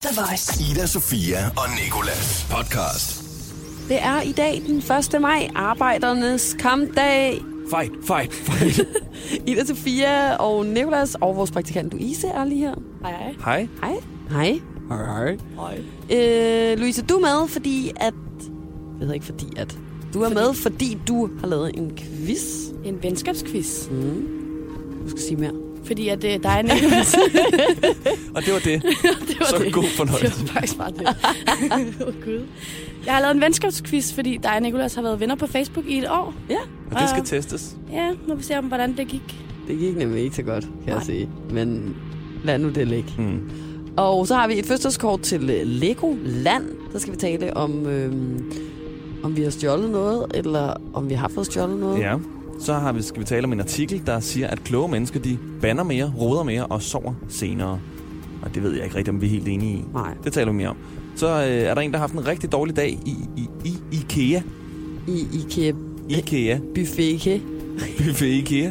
The Voice. Ida, Sofia og Nikolas podcast. Det er i dag den 1. maj, arbejdernes kampdag. Fight, fight, fight. Ida Sofia og Nicolas og vores praktikant Louise er lige her. Hej, hej. Hej. Hej. Hej. Hej, hej. Øh, Louise, du er med, fordi at... Jeg ved ikke, fordi at... Du er Fordi- fordi... med, fordi du har lavet en quiz. En venskabsquiz. Du skal sige mere. Fordi at det er dig, Nicolas. Og det var det. det var Så det. god Det fornøjelse. var faktisk bare det. oh, Gud. Jeg har lavet en venskabsquiz, fordi dig og Nicolas har været venner på Facebook i et år. Ja. Og det skal Ah. testes. Ja, må vi se, om, hvordan det gik. Det gik nemlig ikke så godt, kan Nej. jeg sige. Men lad nu det ligge. Mm. Og så har vi et fødselskort til øh, Lego Land. Så skal vi tale om, øhm, om vi har stjålet noget, eller om vi har fået stjålet noget. Ja. Så har vi, skal vi tale om en artikel, der siger, at kloge mennesker, de banner mere, roder mere og sover senere. Og det ved jeg ikke rigtigt, om vi er helt enige i. Nej. Det taler vi mere om. Så øh, er der en, der har haft en rigtig dårlig dag i, i, i Ikea. I IKEA Ikea. buffet, ikke? Buffet Ikea.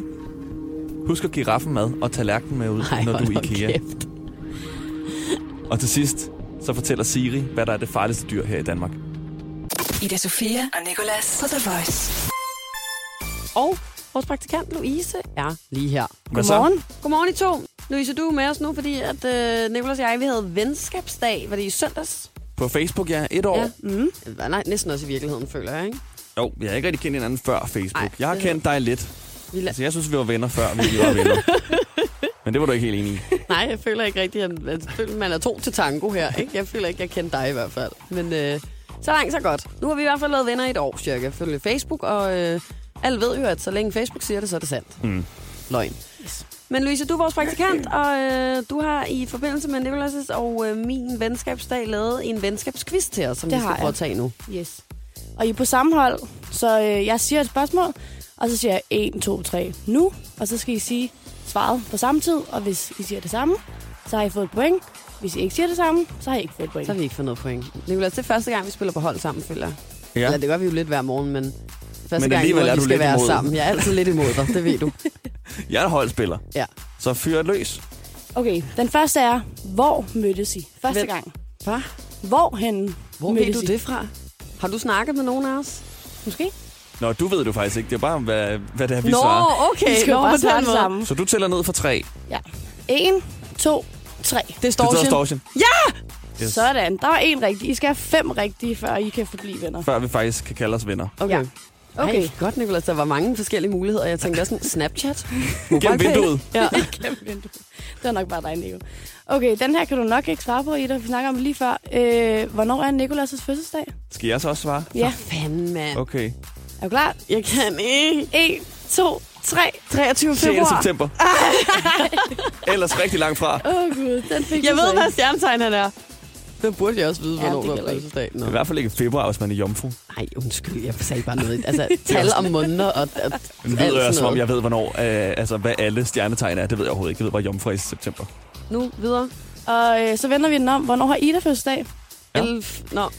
Husk at give raffen mad og tallerkenen med ud, Ej, når hold du er nu Ikea. kæft. Og til sidst, så fortæller Siri, hvad der er det farligste dyr her i Danmark. Ida Sofia og Nicolas på The Voice. Og vores praktikant Louise er lige her. Hvad så? Godmorgen. Godmorgen I to. Louise, du er med os nu, fordi at øh, Nicolas og jeg, vi havde venskabsdag, var det i søndags? På Facebook, ja. Et år. Ja. Øh, Nej, næsten også i virkeligheden, føler jeg, ikke? Jo, jeg har ikke rigtig kendt hinanden før Facebook. Ej, Ej, jeg har det- kendt dig lidt. Vi la- Altså, jeg synes, vi var venner før, vi var venner. Men det var du ikke helt enig i. Nej, jeg føler ikke rigtigt, at jeg føler, man er to til tango her, ikke? Jeg føler ikke, jeg kender dig i hvert fald. Men øh, så langt, så godt. Nu har vi i hvert fald lavet venner i et år, cirka. Følge Facebook, og øh, alle ved jo, at så længe Facebook siger det, så er det sandt. Mm. Løgn. Men Louise, du er vores praktikant, og øh, du har i forbindelse med Nicolas' og øh, min venskabsdag lavet en venskabsquiz til os, som Det vi skal har prøve jeg. at tage nu. Yes. Og I er på samme hold, så øh, jeg siger et spørgsmål, og så siger jeg 1, 2, 3 nu, og så skal I sige svaret på samme tid, og hvis I siger det samme, så har I fået et point. Hvis I ikke siger det samme, så har I ikke fået et point. Så har vi ikke fået noget point. Nicolas, det er første gang, vi spiller på hold sammen, føler jeg. Ja. Eller Ja. det gør vi jo lidt hver morgen, men første Men gang, alligevel hvor er vi du skal lidt være imod. sammen. Jeg er altid lidt imod dig, det ved du. Jeg er holdspiller, Ja. så fyr løs. Okay, den første er, hvor mødtes I første Hvem? gang? Hvad? Hvorhen Hvor mødtes ved du I? det fra? Har du snakket med nogen af os? Måske? Nå, du ved du faktisk ikke. Det er bare, hvad, hvad det er, vi Nå. svarer. okay. I skal jo Nå, bare på svare den det måde. samme. Så du tæller ned fra tre. Ja. 1, 2, 3. Det Du står tager det storchen, Yes. Sådan, der var en rigtig. I skal have fem rigtige, før I kan forblive venner. før vi faktisk kan kalde os venner. Okay. Ja. Okay. Okay. Ej, godt, Nicolas. Der var mange forskellige muligheder. Jeg tænkte også sådan, Snapchat. Gennem MobilePay. vinduet. Ja. Kæmpe vindue. Det var nok bare dig, Nico. Okay, den her kan du nok ikke svare på, Ida. Vi snakker om det lige før. Øh, hvornår er Nikolas' fødselsdag? Skal jeg så også svare? Ja, Fanden, mand. Okay. er du klar? Jeg kan ikke. 1, 2, 3. 23. 6. februar. september. Ellers rigtig langt fra. Åh, oh, Gud. Den fik Jeg du ved, så ikke. hvad stjernetegn han er. Det burde jeg også vide, Ja, hvornår det ja, der gælder er ikke. fødselsdag. Nå. I hvert fald ikke i februar, hvis man er jomfru. Nej, undskyld, jeg sagde bare noget. Altså, tal om måneder og, og Men det lyder jeg, som om jeg ved, hvornår, øh, altså, hvad alle stjernetegn er. Det ved jeg overhovedet ikke. Jeg ved bare jomfru er i september. Nu videre. Og øh, så vender vi den om. Hvornår har Ida fødselsdag? Ja. 11. Nå,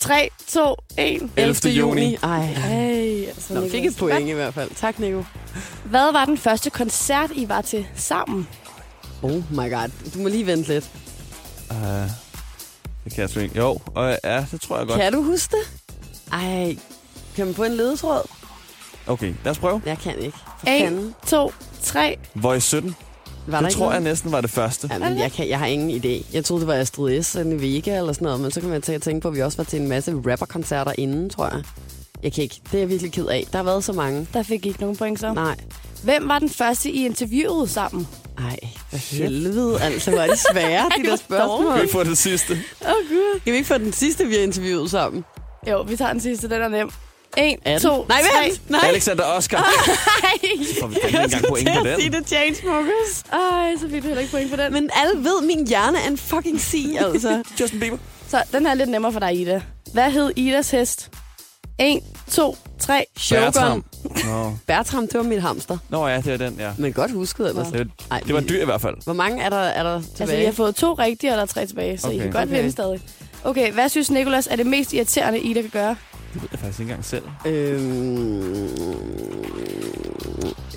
3, 2, 1. 11. juni. Ej. Ej, altså, Nå, Nicolas. fik et point i hvert fald. Tak, Nico. Hvad, hvad var den første koncert, I var til sammen? Oh my god. Du må lige vente lidt. Uh, det kan jeg sgu ikke. Jo, og ja, det tror jeg godt. Kan du huske det? Ej, kan man få en ledetråd? Okay, lad os prøve. Jeg kan ikke. For 1, fanden. 2, 3. Voice 17. Var der det ikke tror jeg noget? næsten var det første. Ja. Jamen, jeg, kan, jeg har ingen idé. Jeg troede, det var Astrid S. en Vega eller sådan noget, men så kom jeg til at tænke på, at vi også var til en masse rapperkoncerter inden, tror jeg. Jeg kan ikke. Det er jeg virkelig ked af. Der har været så mange. Der fik I ikke nogen point så. Nej. Hvem var den første, I interviewede sammen? Ej, for helvede. Altså, hvor er det svære, de der spørgsmål. Kan vi få det sidste? Åh, oh, Gud. Kan vi ikke få den sidste, vi har interviewet sammen? Jo, vi tager den sidste. Den er nem. 1, Er den? 2, Nej, 3. vent! Nej, Alexander Oscar. Får vi fandme ikke engang point på den. det Chainsmokers. Ej, så fik du heller ikke point for den. Men alle ved, min hjerne er en fucking si, altså. Justin Bieber. Så den er lidt nemmere for dig, Ida. Hvad hed Idas hest? 1, 2, 3. Shogun. Bertram. Nå. Bertram, det var mit hamster. Nå ja, det var den, ja. Men godt husket ellers. Det, Ej, det var vi- dyr i hvert fald. Hvor mange er der, er der tilbage? Altså, jeg har fået to rigtige, og der er tre tilbage, så okay. I Okay. kan godt Okay. vinde stadig. Okay, hvad synes Nikolas er det mest irriterende, Ida kan gøre? Det ved jeg faktisk ikke engang selv. Øhm,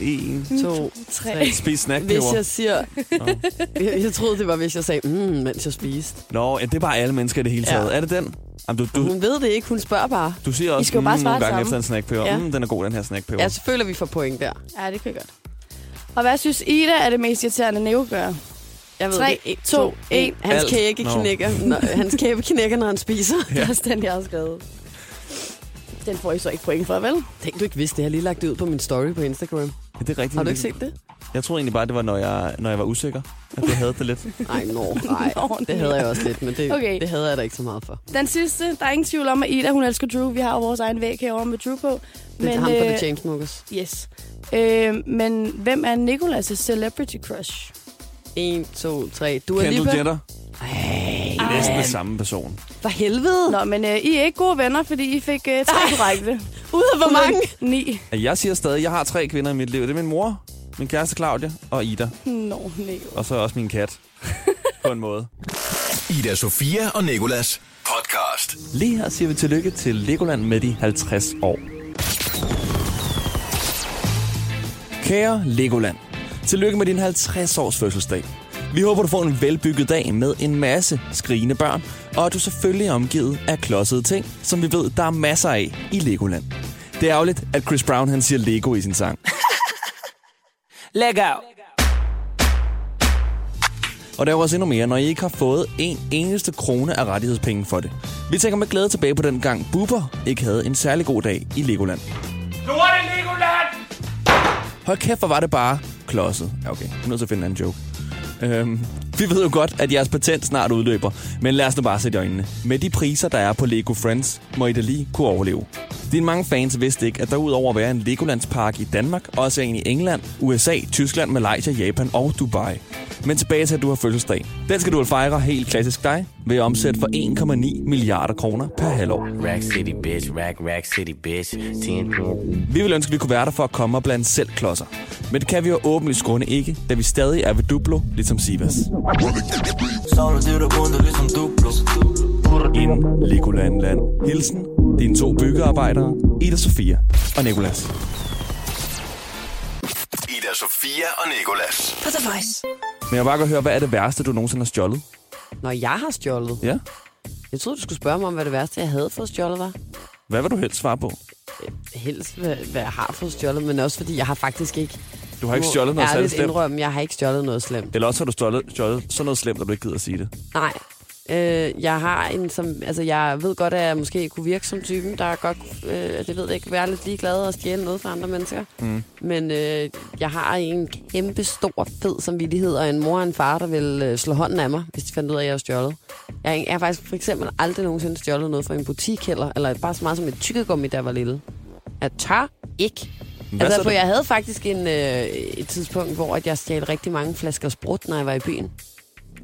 en. to, Tre. tre. Spis Hvis snackpeber. jeg siger... jeg, jeg troede, det var, hvis jeg sagde, mm, mens jeg spiste. Nå, ja, det er bare alle mennesker i det hele Ja. taget. Er det den? Jamen, du, du, Hun ved det ikke, hun spørger bare. du siger I også skal jo bare mm, svare nogle det gange efter samme. en snackpeber. Ja. Mm, den er god, den her snackpeber. Ja, så føler vi får point der. Ja, det kan jeg godt. Og hvad synes Ida er det mest irriterende, Neo gør? Jeg ved Tre, det. En, to, en. Hans Alt. kæbe Nå. knækker, når, hans kæbe knækker, når han spiser. Ja. Det er den, jeg har skrevet. Den får I så ikke point for, vel? Tænk, du ikke vidste det. Jeg har lige lagt det ud på min story på Instagram. Ja, det er rigtigt. Har du ikke set det? Jeg troede egentlig bare, det var, når jeg, når jeg var usikker, at det havde det lidt. Nej, nå, nej. Nå, nej. det havde jeg også lidt, men det, okay. Okay. det havde jeg da ikke så meget for. Den sidste, der er ingen tvivl om, at Ida, hun elsker Drew. Vi har jo vores egen væg herovre med Drew på. Det er ham fra The øh, Chainsmokers. Yes. Øh, men hvem er Nicolas' celebrity crush? 1, 2, 3. Du er lige Kendall på... Jenner. Ej, næsten den samme person. For helvede! Nå, men øh, I er ikke gode venner, fordi I fik øh, tre korrekte. Ud af hvor mange? Ni. Jeg siger stadig, at jeg har tre kvinder i mit liv. Det er min mor, min kæreste Claudia og Ida. Nå, Nico. Og så også min kat. på en måde. Ida Sofia og Nikolas podcast. Lige her siger vi tillykke til Legoland med de 50 år. Kære Legoland, tillykke med din 50-års fødselsdag. Vi håber, du får en velbygget dag med en masse skrigende børn, og at du selvfølgelig er omgivet af klodsede ting, som vi ved, der er masser af i Legoland. Det er ærgerligt, at Chris Brown han siger Lego i sin sang. Læg out. Og der er jo også endnu mere, når I ikke har fået en eneste krone af rettighedspenge for det. Vi tænker med glæde tilbage på den gang Bubber ikke havde en særlig god dag i Legoland. Lorte Legoland! Hold kæft, hvor var det bare klodset. Ja, okay. Jeg er nødt til at finde en anden joke. Øhm, vi ved jo godt, at jeres patent snart udløber, men lad os nu bare sætte i øjnene. Med de priser, der er på Lego Friends, må I da lige kunne overleve. Dine mange fans vidste ikke, at der udover at være en Legolandspark i Danmark, også er en i England, USA, Tyskland, Malaysia, Japan og Dubai. Men tilbage til, at du har fødselsdag. Den skal du vel fejre helt klassisk dig ved at omsætte for 1,9 milliarder kroner per halvår. Rack City, bitch. Rack, Rack City, bitch. 10, 10. Vi vil ønske, at vi kunne være der for at komme og blande selv klodser. Men det kan vi jo åbenlyst grunde ikke, da vi stadig er ved Duplo, ligesom Sivas. Solo til det bunde, ligesom duplo. In Legoland Land. Hilsen, dine to byggearbejdere, Ida Sofia og Nikolas. Ida Sofia og Nikolas. På The Voice. Men jeg vil bare godt høre, hvad er det værste, du nogensinde har stjålet? Når jeg har stjålet. Ja? Jeg troede, du skulle spørge mig om, hvad det værste, jeg havde fået stjålet var. Øh, Hvad vil du helst svare på? Helst, hvad, hvad jeg har fået stjålet, men også fordi jeg har faktisk ikke... Du har ikke stjålet noget særligt særligt slemt. indrømme, jeg har ikke stjålet noget slemt. Eller også har du stjålet, stjålet sådan noget slemt, at du ikke gider at sige det. Nej. Øh, jeg har en, som... Altså, jeg ved godt, at jeg måske kunne virke som typen, der godt... kunne, Øh, det ved jeg ikke, være lidt ligeglad og stjæle noget fra andre mennesker. Mm. Men øh, jeg har en kæmpe stor, fed samvittighed, og en mor og en far, der vil øh, slå hånden af mig, hvis de fandt ud af, at jeg har stjålet. Jeg, har ikke- jeg har faktisk for eksempel aldrig nogensinde stjålet noget fra en butik heller, eller bare så meget som et tykkegummi, da jeg var lille. Jeg tør ikke. Hvad så altså, for det? jeg havde faktisk en, øh, et tidspunkt, hvor at jeg stjal rigtig mange flasker sprut, når jeg var i byen.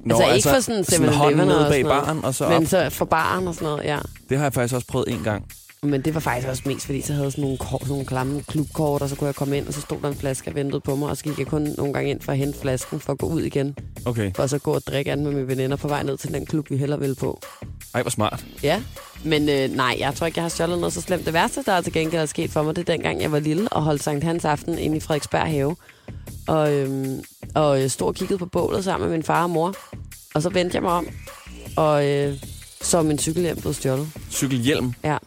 Nå, altså, ikke for sådan 7 sådan hånden nede bag baren, og så op. Men så for baren og sådan noget, ja. Det har jeg faktisk også prøvet en gang. Men det var faktisk også mest, fordi så havde jeg sådan nogle, kort, sådan nogle klamme klubkort, og så kunne jeg komme ind, og så stod der en flaske og ventede på mig, og så gik jeg kun nogle gange ind for at hente flasken for at gå ud igen, Okay. for så gå og drikke andet med mine veninder på vej ned til den klub, vi heller ville på. Ej, hvor smart. Ja, men øh, nej, jeg tror ikke, jeg har stjålet noget så slemt. Det værste, der til gengæld er sket for mig, det er dengang, jeg var lille og holdt Sankt Hans aften inde i Frederiksberg have. Og, øhm, og jeg stod og kiggede på bålet sammen med min far og mor. Og så vendte jeg mig om, og øh, så er min cykelhjem blev stjålet. Cykelhjelm. Ja.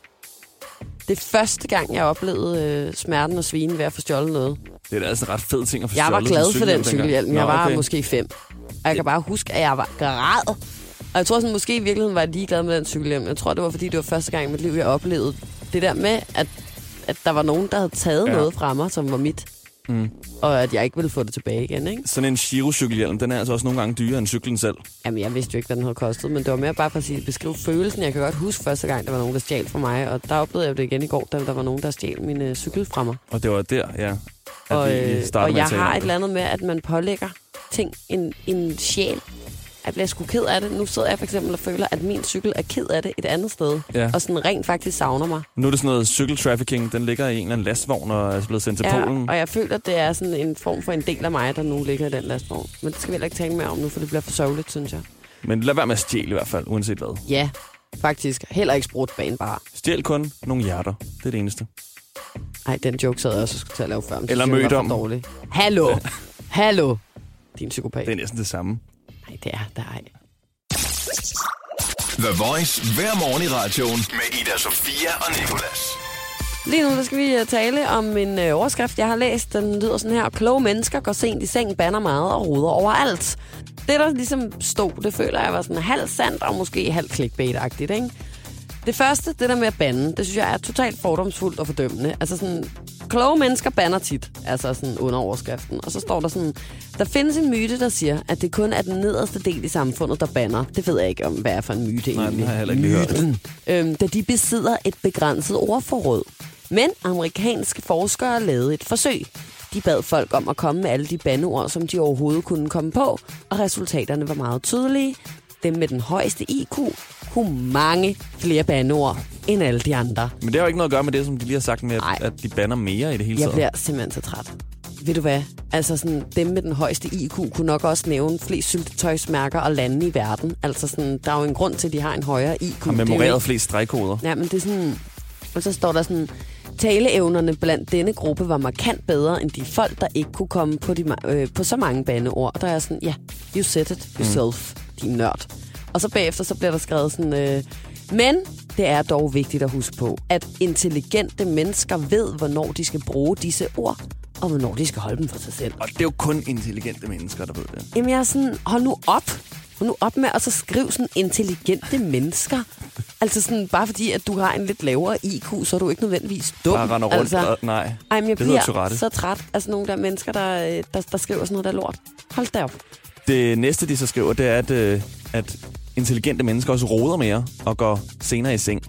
Det er første gang, jeg oplevede øh, smerten og svinen ved at få stjålet noget. Det er da altså en ret fed ting at få Jeg var stjålet, glad sådan for en den dengang. cykelhjelm. Jeg Nå, var okay. måske fem. Og jeg kan bare huske, at jeg var græd. Og jeg tror sådan, måske i virkeligheden var jeg ligeglad med den cykelhjelm. Jeg tror, det var, fordi det var første gang i mit liv, jeg oplevede det der med, at, at der var nogen, der havde taget Ja. ja. noget fra mig, som var mit. Mm. Og at jeg ikke ville få det tilbage igen, ikke? Sådan en Giro-cykelhjelm, den er altså også nogle gange dyrere end cyklen selv. Jamen, jeg vidste jo ikke, hvad den havde kostet, men det var mere bare for at sige- beskrive følelsen. Jeg kan godt huske første gang, der var nogen, der stjal fra mig, og der oplevede jeg det igen i går, da der var nogen, der stjal min øh, cykel fra mig. Og det var der, ja, at Og, vi øh, startede og med jeg at tale om har et det. eller andet med, at man pålægger ting en, en sjæl. Jeg bliver sgu ked af det. Nu sidder jeg for eksempel og føler, at min cykel er ked af det et andet sted. Ja. Og sådan rent faktisk savner mig. Nu er det sådan noget cykeltrafficking, den ligger i en eller anden lastvogn og er blevet sendt til ja, Polen. og jeg føler, at det er sådan en form for en del af mig, der nu ligger i den lastvogn. Men det skal vi heller ikke tale mere om nu, for det bliver for sørgeligt, synes jeg. Men lad være med at stjæle i hvert fald, uanset hvad. Ja, faktisk. Heller ikke sprudt banen bare. Stjæl kun nogle hjerter. Det er det eneste. Ej, den joke sad jeg også og skulle til at lave før. men Eller synes jeg, den var mødom. for dårlig. Hallo! Hallo! Din psykopat. Det er næsten det samme. Nej, det er der ej. The Voice hver morgen i radioen med Ida Sofia og Nicolas. Lige nu der skal vi øh, tale om en øh, overskrift, jeg har læst. Den lyder sådan her. Kloge mennesker går sent i seng, banner meget og roder overalt. Det, der ligesom stod, det føler jeg var sådan halvt sandt og måske halvt clickbait-agtigt, ikke? Det første, det der med at bande, det synes jeg er totalt fordomsfuldt og fordømmende. Altså sådan, kloge mennesker banner tit, altså sådan under overskriften. Og så står der sådan, der findes en myte, der siger, at det kun er den nederste del i samfundet, der banner. Det ved jeg ikke om, hvad er for en myte Nej, den egentlig. har jeg heller ikke lige hørt. Myten. Øhm, da de besidder et begrænset ordforråd. Men amerikanske forskere lavede et forsøg. De bad folk om at komme med alle de bandeord, som de overhovedet kunne komme på, og resultaterne var meget tydelige. Dem med den højeste IQ kunne mange flere bandeord end alle de andre. Men det har jo ikke noget at gøre med det, som de lige har sagt med, Nej. at, at de banner mere i det hele Jeg taget. bliver simpelthen så træt. Ved du hvad? Altså sådan, dem med den højeste IQ kunne nok også nævne flest syltetøjsmærker og lande i verden. Altså sådan, der er jo en grund til, at de har en højere IQ. Har Det er jo ikke- memoreret flest stregkoder. Ja, men det er sådan... Og så står der sådan, taleevnerne blandt denne gruppe var markant bedre end de folk, der ikke kunne komme på, de, ma- øh, på så mange bandeord. Og der er jeg sådan, ja, yeah, you said it yourself, mm. din nørd. Og så bagefter så bliver der skrevet sådan, øh, men det er dog vigtigt at huske på, at intelligente mennesker ved, hvornår de skal bruge disse ord, og hvornår de skal holde dem for sig selv. Og det er jo kun intelligente mennesker, der ved det. Jamen, jeg er sådan, hold nu op. Hold nu op med at så skrive sådan intelligente mennesker. Altså sådan, bare fordi, at du har en lidt lavere IQ, så er du ikke nødvendigvis dum. Bare render rundt altså, og- nej. Ej, men jeg Det hedder bliver Tourette. så træt af sådan nogle der mennesker, der, øh, der, der skriver sådan noget der lort. Hold da op. Det næste, de så skriver, det er, at, øh, at intelligente mennesker også roder mere og går senere i seng.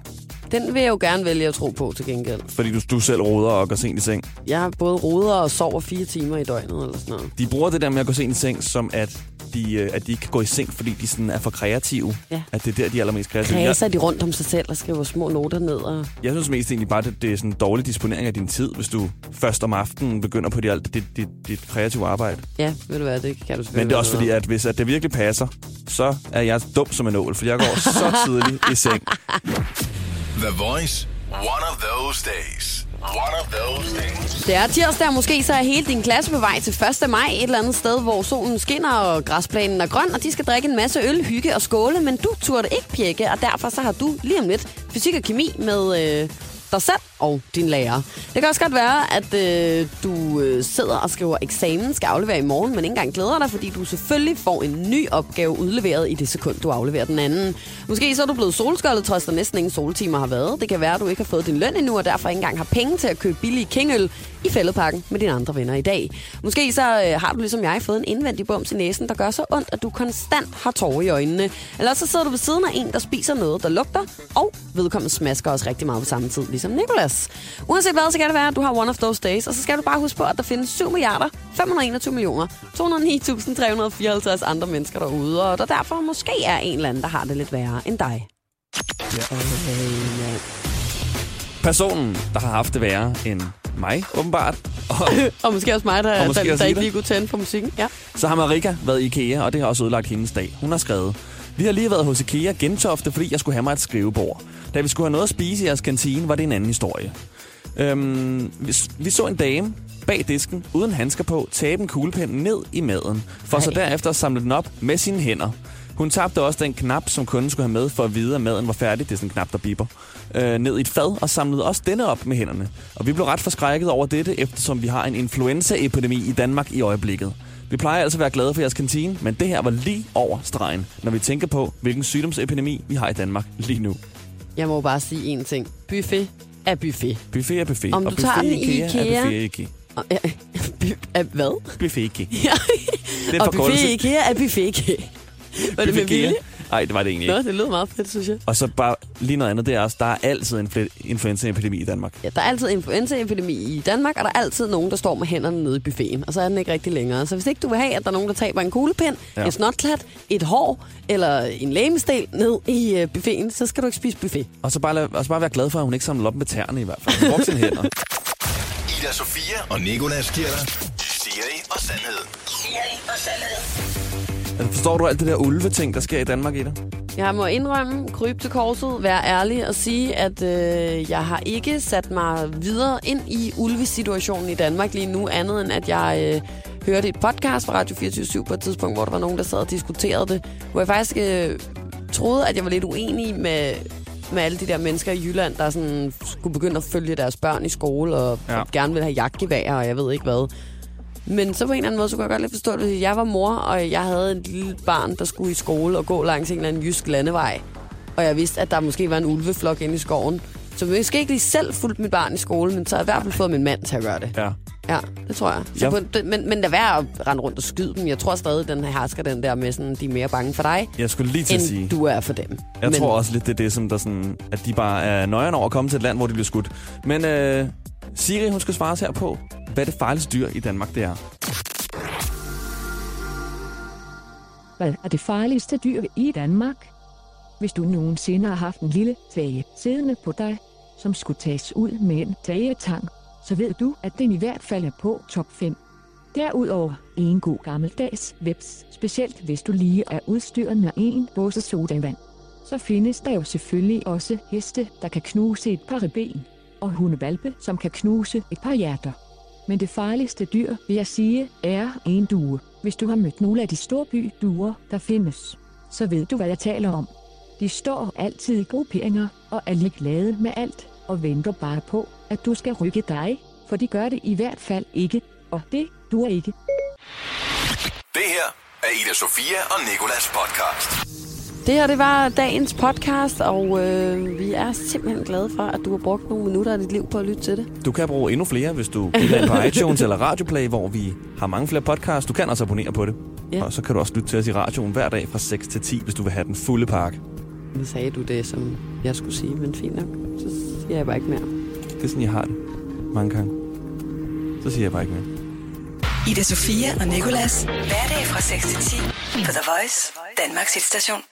Den vil jeg jo gerne vælge at tro på til gengæld. Fordi du, du selv roder og går sent i seng. Jeg både roder og sover fire timer i døgnet eller sådan noget. De bruger det der med at gå sent i seng, som at de, øh, at de ikke kan gå i seng, fordi de sådan er for kreative. Ja. At det er der, de er allermest kreative. Jeg, Kræser de rundt om sig selv og skriver små noter ned. Og... jeg synes mest egentlig bare, at det er sådan en dårlig disponering af din tid, hvis du først om aftenen begynder på dit, alt- dit, dit, dit kreative arbejde. Ja, ved du hvad, det kan du selvfølgelig Men det er også være fordi, noget at hvis at det virkelig passer, så er jeg dum som en ål, for jeg går så tidligt i seng. The Voice. One of those days. One of those days. Det er tirsdag, og måske så er hele din klasse på vej til 1. maj et eller andet sted, hvor solen skinner og græsplanen er grøn, og de skal drikke en masse øl, hygge og skåle, men du turde ikke pjekke, og derfor så har du lige om lidt fysik og kemi med øh, dig selv og din lærer. Det kan også godt være, at øh, du øh, sidder og skriver eksamen, skal aflevere i morgen, men ikke engang glæder dig, fordi du selvfølgelig får en ny opgave udleveret i det sekund, du afleverer den anden. Måske så er du blevet solskoldet, trods der næsten ingen soltimer har været. Det kan være, at du ikke har fået din løn endnu, og derfor ikke engang har penge til at købe billige kingøl i fældepakken med dine andre venner i dag. Måske så øh, har du ligesom jeg fået en indvendig bums i næsen, der gør så ondt, at du konstant har tårer i øjnene. Eller så sidder du ved siden af en, der spiser noget, der lugter, og vedkommende smasker også rigtig meget på samme tid, ligesom Nicolas. Uanset hvad, så kan det være, at du har one of those days, og så skal du bare huske på, at der findes 7 milliarder, 521 millioner, 209.354 andre mennesker derude, og der derfor måske er en eller anden, der har det lidt værre end dig. Øh, Personen, der har haft det værre end mig, åbenbart, og Og måske også mig, der, Og måske der- også der ikke Ida. lige kunne tænde på musikken. Ja. Så har Marika været i IKEA, og det har også ødelagt hendes dag. Hun har skrevet, vi har lige været hos IKEA Gentofte, fordi jeg skulle have mig et skrivebord. Da vi skulle have noget at spise i jeres kantine, var det en anden historie. Øhm, vi, s- vi så en dame bag disken, uden handsker på, tabe en kuglepen ned i maden, for så derefter at samle den op med sine hænder. Hun tabte også den knap, som kunden skulle have med for at vide, at maden var færdig. Det er sådan en knap, der biber. Øh, ned i et fad og samlede også denne op med hænderne. Og vi blev ret forskrækket over dette, eftersom vi har en influenzaepidemi i Danmark i øjeblikket. Vi plejer altså at være glade for jeres kantine, men det her var lige over stregen, når vi tænker på, hvilken sygdomsepidemi vi har i Danmark lige nu. Jeg må bare sige én ting. Buffet er buffet. Buffet er buffet, Om og du buffet tager den i IKEA, IKEA? er buffet i IKEA. Og, ja, bu- er hvad? Buffet i IKEA. Ja. Det er og buffet forkortelse. IKEA er buffet IKEA. Var det med Buffet IKEA. vilje? Nej, det var det egentlig Nå, ikke. det lød meget fedt, synes jeg. Og så bare lige noget andet, det er også, der er altid en fl- influenzaepidemi i Danmark. Ja, der er altid influenzaepidemi i Danmark, og der er altid nogen, der står med hænderne nede i buffeten, og så er den ikke rigtig længere. Så hvis ikke du vil have, at der er nogen, der taber en kuglepind, ja. Ja. en snotklat, et hår eller en lægemestel ned i øh, buffeten, så skal du ikke spise buffet. Og så bare, lad, og så bare være glad for, at hun ikke samler op med tæerne i hvert fald. Hun brugte sine hænder. Ida Sofia og Nicolas giver dig Siri og sandhed. Siri og sandhed. Altså, forstår du alt det der ulveting, der sker i Danmark i dig? Jeg må indrømme, krybe til korset, være ærlig og sige, at øh, jeg har ikke sat mig videre ind i ulvesituationen i Danmark lige nu, andet end at jeg øh, hørte et podcast fra Radio 24 på et tidspunkt, hvor der var nogen, der sad og diskuterede det, hvor jeg faktisk øh, troede, at jeg var lidt uenig med, med alle de der mennesker i Jylland, der sådan skulle begynde at følge deres børn i skole og, ja. Ja. og gerne ville have jagtgeværer og jeg ved ikke hvad. Men så på en eller anden måde, så kunne jeg godt lidt forstå det. Hvis jeg var mor, og jeg havde et lille barn, der skulle i skole og gå langs en eller anden jysk landevej, og jeg vidste, at der måske var en ulveflok inde i skoven, så jeg måske ikke lige selv fulgte mit barn i skole, men så har jeg i hvert fald fået min mand til at gøre det. Ja. Ja, det tror jeg. Så Jeg- på, en- det- men, men lad være at rende rundt og skyde dem. Jeg tror stadig, den her hersker den der med, sådan, de er mere bange for dig, Jeg skulle lige til at sige... end du er for dem. Jeg men, men... tror også lidt, det er det, som der sådan, at de bare er nøjerne over at komme til et land, hvor de bliver skudt. Men øh, Siri, hun skal svare os her på, hvad det farligste dyr i Danmark det er. Hvad er det farligste dyr i Danmark? Hvis du nogensinde har haft en lille tage siddende på dig, som skulle tages ud med en tagetang, så ved du, at den i hvert fald er på top 5. Derudover en god gammeldags veps, specielt hvis du lige er udstyret med en båse sodavand. Så findes der jo selvfølgelig også heste, der kan knuse et par ben, og hundevalpe, som kan knuse et par hjerter. Men det farligste dyr, vil jeg sige, er en due. Hvis du har mødt nogle af de storby duer, der findes, så ved du, hvad jeg taler om. De står altid i grupperinger og er ligeglade med alt og venter bare på, at du skal rykke dig, for de gør det i hvert fald ikke, og det du er ikke. Det her er Ida Sofia og Nikolas podcast. Det her, det var dagens podcast, og øh, vi er simpelthen glade for, at du har brugt nogle minutter af dit liv på at lytte til det. Du kan bruge endnu flere, hvis du går ind på iTunes eller Radioplay, hvor vi har mange flere podcasts. Du kan også abonnere på det. Ja. Ja. Og så kan du også lytte til os i radioen hver dag fra 6 til 10, hvis du vil have den fulde pakke. Nu sagde du det, som jeg skulle sige, men fint nok. Så siger jeg bare ikke mere. Det er sådan, jeg har det mange gange. Så siger jeg bare ikke mere. Ida Sofia og Nikolas. Hverdag fra 6 til 10 på The Voice, Danmarks hitstation.